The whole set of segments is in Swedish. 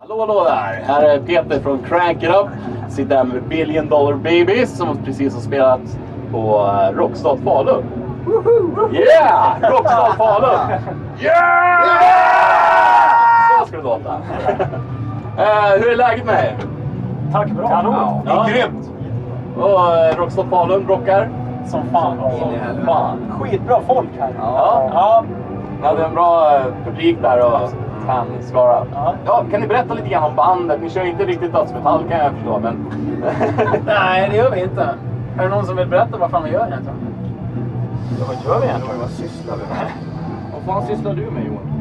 Hallå, hallå där! Här är Peter från Crank It Up. Sitter här med Billion Dollar Babies som precis har spelat på eh, Rockstad Falun. Yeah! Rockstad Falun! Yeah! Så ska det låta. Eh, hur är läget med er? Tack bra. Kanon. Ja. Grymt! Och, eh, Rockstad Falun rockar? Som fan. Som fan. Skitbra folk här. Ja. Ja. Ni hade en bra eh, publik där och fan, Skara. Ja. Ja, kan ni berätta lite grann om bandet? Ni kör ju inte riktigt dödsmetall kan jag förstå, men... Nej, det gör vi inte. Är det någon som vill berätta vad fan vi gör egentligen? Vad gör vi egentligen? Vad fan sysslar du med Johan?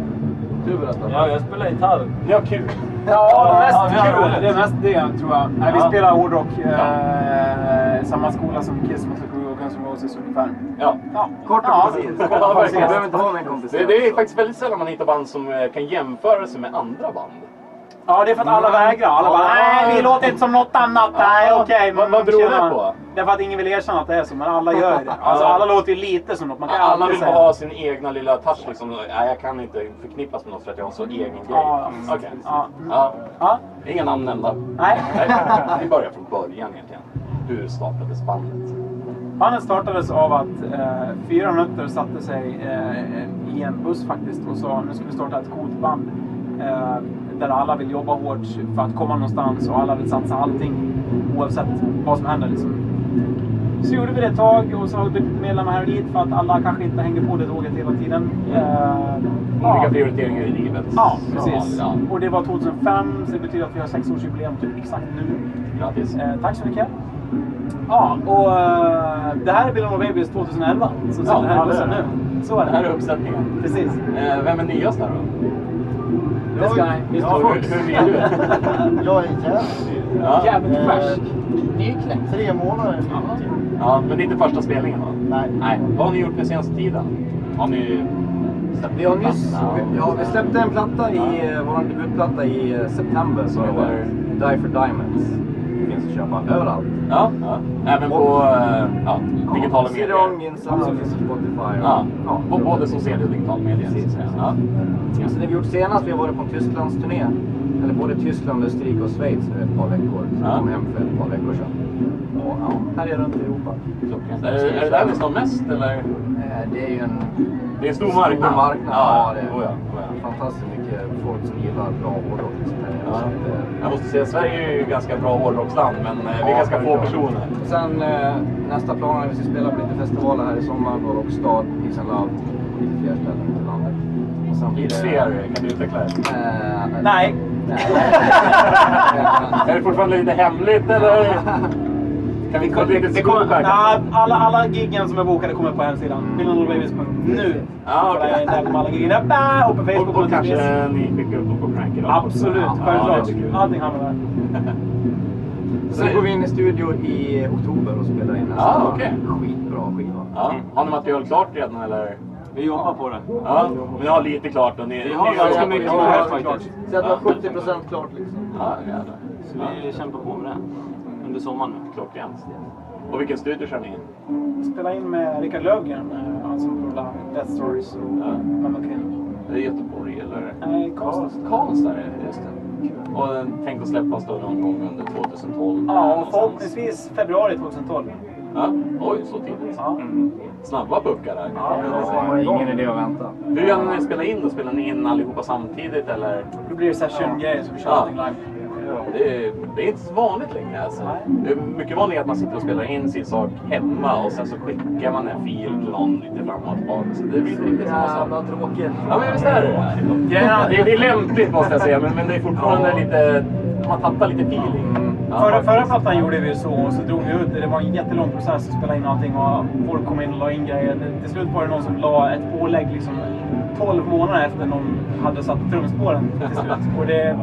Du berättar. Ja, jag spelar gitarr. Ni har kul. Ja, Ja, mest vi har kul. roligt. det är mest det tror jag. Nej, vi Ja. spelar hårdrock. Eh, samma skola som Kiss, Motley Crue och Guns N' Roses ungefär. Ja. Ja, kort och ja. precis. Kort och verkligen. koncist. Det, det är faktiskt väldigt sällan man hittar band som eh, kan jämföra sig med andra band. Ja, det är för att alla vägrar. Alla bara, Ja. nej, vi låter inte som något annat. Nej, Ja. okej. Vad- vad mm, beror det tjena." på? Det är för att ingen vill erkänna att det är så, men alla gör ju det. Alltså, Ja. alla låter ju lite som något. Man kan Alla aldrig vill säga. ha sin egna lilla touch liksom. Nej, jag kan inte förknippas med något för att jag har så egen grej. Ja, Okej. Mm. ja. Ja. Ja, Inga namn nämnda. nej. Nej, Vi börjar från början egentligen. Hur startades bandet? Bandet startades av att eh, fyra nötter satte sig eh, i en buss faktiskt och sa nu ska vi starta ett coolt band. Eh, där alla vill jobba hårt för att komma någonstans och alla vill satsa allting oavsett vad som händer. Liksom. Så gjorde vi det ett tag och så har vi blivit medlemmar här och dit för att alla kanske inte hängde på det tåget hela tiden. Eh, Olika ja. prioriteringar i livet. Ja, Som vanligt, precis. Ja. Och det var 2005 så det betyder att vi har sexårsjubileum typ exakt nu. Grattis. Eh, tack så mycket. Ja, och eh, det här är Bill och Babies 2011 som sitter Ja, här i det är bussen det. nu. Så är Den här är det. uppsättningen. Precis. Eh, Vem är nyast här då? This guy, Mr. Ja, hur, Fox. hur vill du? Jag är jävligt Ja. Jävligt Eh, färsk. Tre månader. ja, men det är inte första spelningen va? Nej. Nej. Vad har ni gjort den senaste tiden? Har ni släppt Vi har nyss, plattan? ja, vi släppte en platta i, eh, vår debutplatta i eh, september som heter Die for Diamonds. Finns att köpa överallt. Ja, ja. Även på eh, ja, digitala CD-ROM, medier. Ginsan, så finns det på Spotify. Ja, Ja. på både som CD och digital media. så att säga. Ja. Och Sen det vi gjort senast, vi har varit på en Tysklandsturné. Eller både Tyskland, Österrike och Schweiz nu ett par veckor. Så Ja. jag kom hem för ett par veckor sedan. Och, ja, här är runt i Europa. Klockrent. Är, är det där ni står mest eller? Eh, Det är ju en Det är en stor marknad. Stor marknad. Ja, det är oh ja, oh ja. fantastiskt mycket folk som gillar bra hårdrock. och sånt där. Ja. Så att, eh, Jag måste säga, Sverige är ju ganska bra hårdrocksland men eh, vi är Ja, ganska få verkligen. personer. Sen eh, nästa plan är att vi ska spela på lite festivaler här i sommar. Då Rockstad, Peace and Love och lite fler ställen ute i landet. Och sen blir Lite det... fler, kan du utveckla det? Eh, Nej. nej. Är det fortfarande lite hemligt eller? Kan vi få lite Det kommer, scoop nej, här? alla, alla giggen som är bokade kommer på hemsidan. BillOnTheBabies.nu. Ja, okej. Där är alla giggen är där, och på Facebook. Och, och naturligtvis. kanske ni skickar upp dem på Crank It Up? Absolut, Ja, självklart. det tycker jag. Allting hamnar där. Sen går vi in i studio i oktober och spelar in nästa Ah, okej. skitbra skiva. Ja. Har ni material klart redan eller? Vi jobbar på det. Ja, men ni har lite klart och ni... Vi har ganska mycket Ja, klart ja, faktiskt. Så att det var 70% klart liksom. Ja, jävlar. Så vi kämpar på med det under sommaren nu. Klockrent. Och vilken studio kör ni in? Spela in med Rickard Löfgren, eh, han som producerar Death Stories och Ja. Mamma Kin. Är det Göteborg eller? Nej, Karlstad. Karlstad är det, just det. Och eh, den tänkte släppas då någon gång under 2012? Ja, och någonstans. förhoppningsvis februari 2012. Ja, oj, så tidigt. Ja. Snabba puckar där. Ja, det är ingen idé att vänta. Hur gör ni när ni spelar in då? Spelar ni in allihopa samtidigt eller? Då blir det session-grejer så vi kör Ja. allting live. Det är, det är inte så vanligt längre alltså. Det är mycket vanligare att man sitter och spelar in sin sak hemma och sen så skickar man en fil till någon lite fram och tillbaka. Så det blir inte riktigt samma sak. Jävla tråkigt. Ja men visst är det det. Ja. Det, det är lämpligt måste jag säga men, men det är fortfarande lite... Man tappar lite feeling. Ja, Mm. Förra, faktiskt. förra plattan gjorde vi ju så och så drog vi ut det. Det var en jättelång process att spela in allting och folk kom in och la in grejer. Det- Till slut var det någon som la ett pålägg liksom 12 månader efter någon hade satt trumspåren till slut. Och det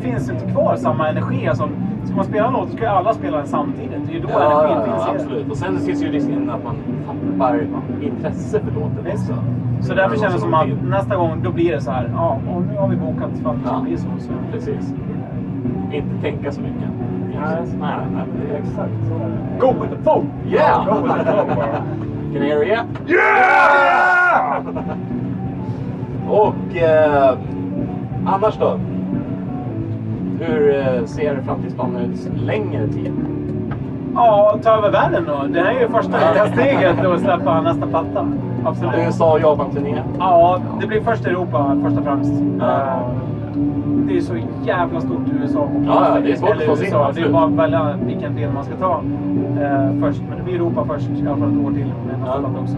finns ju inte kvar samma energi. Alltså, ska man spela en låt så ska ju alla spela den samtidigt. Det är ju då Ja, ja, energin finns i ja, det. absolut. Och sen finns ju risken att man tappar intresse för låten Visst. också. Så därför känns det som att någonting. nästa gång då blir det så här. Ja, och nu har vi bokat för att det ska Ja. bli så. så. Precis. Inte tänka så mycket. Nej, nej, det är exakt. Go with the flow! Yeah! Can you hear it? Yeah! Och eh, annars då? Hur eh, ser framtidsplanen ut längre tid? Ja, ta över världen då. Det här är ju första lilla steget att släppa nästa platta. Absolut. USA och Japan-turné. Ja, det blir först Europa först och främst. Ja. Eh, Det är så jävla stort i USA. och Ja, ja, det är svårt eller att få sig in, USA. Det är absolut. bara att välja vilken del man ska ta eh, först. Men det blir Europa först, i alla fall ett år till med nästa Ja. platta också.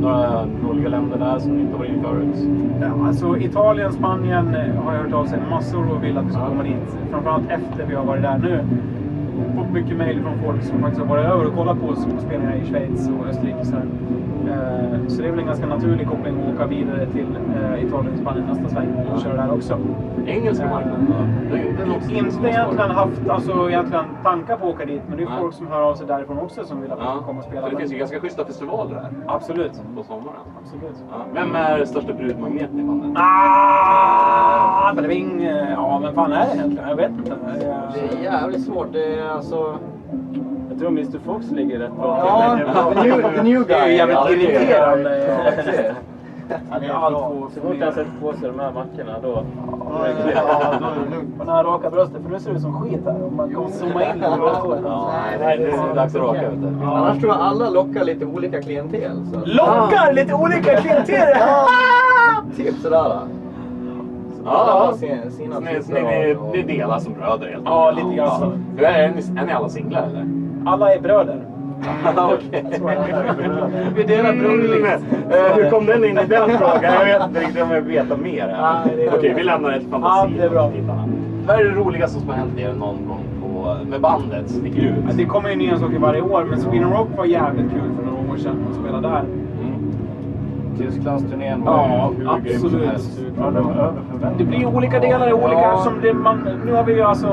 Några roliga länder där som inte var inne förut. Ja, alltså Italien, Spanien eh, har jag hört av sig massor och vill att vi ska komma dit. Framförallt efter vi har varit där nu. Fått mycket mejl från folk som faktiskt har varit över och kollat på oss på spelningar i Schweiz och Österrike. och Så, här. Eh, så det är väl en ganska naturlig koppling att åka vidare till eh, Italien, Spanien nästa sväng och köra där också. Eh, Eh, Engelska marknaden då? Det, det låter Inte egentligen haft alltså, egentligen tankar på att åka dit, men det är Nej. folk som hör av sig därifrån också som vill att vi ska Ja, komma och spela. för det finns ju ganska schyssta festivaler här Absolut. på sommaren. Absolut. Ja. Vem är största brudmagneten i bandet? Ah, Bredving. eh, Ja, vem fan är det egentligen? Jag vet inte. Eh, Det är jävligt svårt. Det är alltså... Jag tror Mr Fox ligger rätt bra Ja, till. the new, the new Det är ju guy. jävligt Ja, det är det. irriterande. Han Det är är allt bra. på Så fort han sätter på sig de här mackorna då... Ja, ja, då är det lugnt. på den här raka bröstet, för nu ser det ut som skit här. Om man kommer zooma in på brösthåret. Ja, det här det är dags att raka ut det. Annars tror jag alla lockar lite olika klientel. Så. Lockar lite olika klienter! Typ sådär. Så alla har sin- sina Så ni, så typer ni, ni, av- ni delar som bröder helt Ja, lite grann så. Hur är, det? är, ni, är ni alla singlar eller? Alla är bröder. Okej. Vi delar broderligt. Eh, Hur kom den in i den frågan? Jag vet inte riktigt om jag vill veta mer. här. Nej, det är lugnt. Okej, vi lämnar det till fantasin. Ja, det är bra. Vad är det roligaste som har hänt er någon gång på, med bandet? Sticker Ja, ut? Det kommer ju nya saker varje år, men Sweden Rock var jävligt kul för några år sedan att spela där. Mm. Tysklandsturnén Ja, ju grym som absolut. helst. Ja, det var över Det förväntan. blir olika delar i olika Ja. eftersom det, man, nu har vi ju alltså,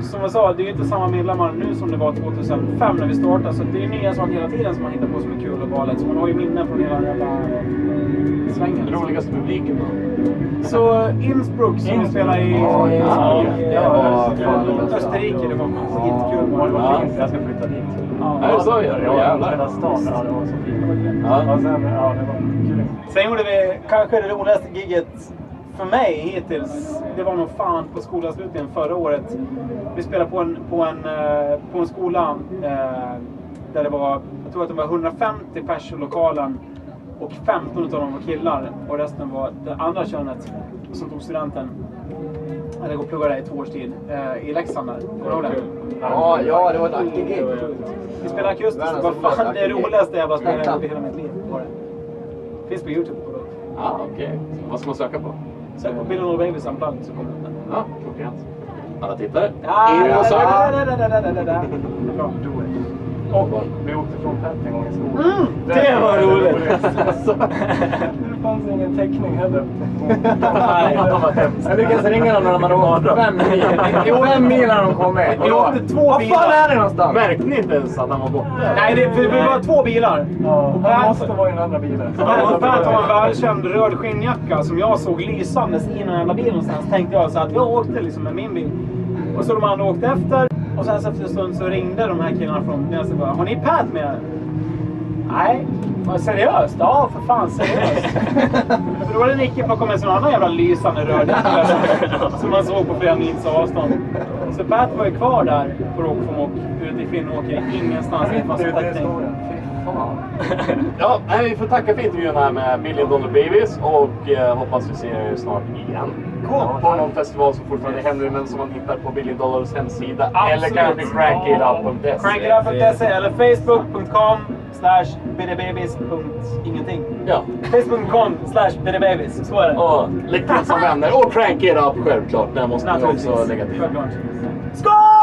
som jag sa, det är ju inte samma medlemmar nu som det var 2005 när vi startade. Så det är nya saker hela tiden som man hittar på som är kul och galet. Så man har ju minnen från hela den jävla eh, svängen. Den roligaste publiken då? Så eh, Innsbruck som vi spelade i, Ja, i, Innsbruck. i, Det var i fan det bästa. Österrike, det var skitkul. Ja, det var Ja. fint. Jag ska flytta dit. Är det Ja. så? Ja, jävlar. Hela stan. Ja, det var så fint. Ja. Ja, sen, ja, det var kul. Sen gjorde vi kanske det roligaste giget för mig hittills. Det var nog fan på skolavslutningen förra året. Vi spelade på en, på en, eh, på en skola eh, där det var, jag tror att det var 150 pers i lokalen. Och 15 av dem var killar och resten var det andra könet som tog studenten. Eller går och pluggade där i två års tid eh, i Leksand där. Kommer du ihåg det? Ja, ja, det var ett aktivt gig. Vi spelade akustiskt. Det var fan det roligaste jävla spelningen i hela mitt liv. var det. Finns på Youtube. Ja, okej. Vad ska man söka på? Sök på Bill och Baby Unplugged så kommer Ah, den. Ja, klockrent. Alla tittare. Ja, EU och så. Mm. Bra. Och- Vi åkte från Pent en gång i skolan. Det var roligt! Det fanns ingen täckning heller. Nej, det var hemskt. Jag lyckades ringa dem när de hade åkt fem mil. Det är fem mil när de kom med. Vi åkte två Vad fan bilar. är det någonstans? Märkte ni inte ens att han var borta? Nej, det, vi, vi var två bilar. Ja, Och han Per- måste vara i den andra bilen. Per- Per har en välkänd röd skinnjacka som jag såg lysandes i den jävla bilen någonstans. Tänkte jag så att jag åkte liksom med min bil. Och så de andra åkte efter. Och sen så efter en stund så ringde de här killarna från Näsen och bara Har ni Pat med er?" Nej. "Ja, Seriöst? Ja, för fan seriöst. För då var det Nicke plockade med sig någon annan jävla lysande röd jacka som- som man såg på flera mils avstånd. Så Pat var ju kvar där på Rockfamok ute i Finnåker. Ingenstans. Med Mitt massa ute i täckning. historien. Fy fan. Ja, nej, vi får tacka för intervjun här med Billion Dollar Babies och eh, hoppas vi ser er snart igen. Cool. På någon festival som fortfarande händer men som man hittar på Billion Dollars hemsida Absolut. eller kanske crankitup.se. Crankitup.se eller facebook.com slash bdbabys.ingenting. Ja, Facebook.com slash bdbabys. Så är det. och Läckligt som vänner och Crankitup självklart. Den måste vi Naturligtvis. också lägga till. Självklart. Skål!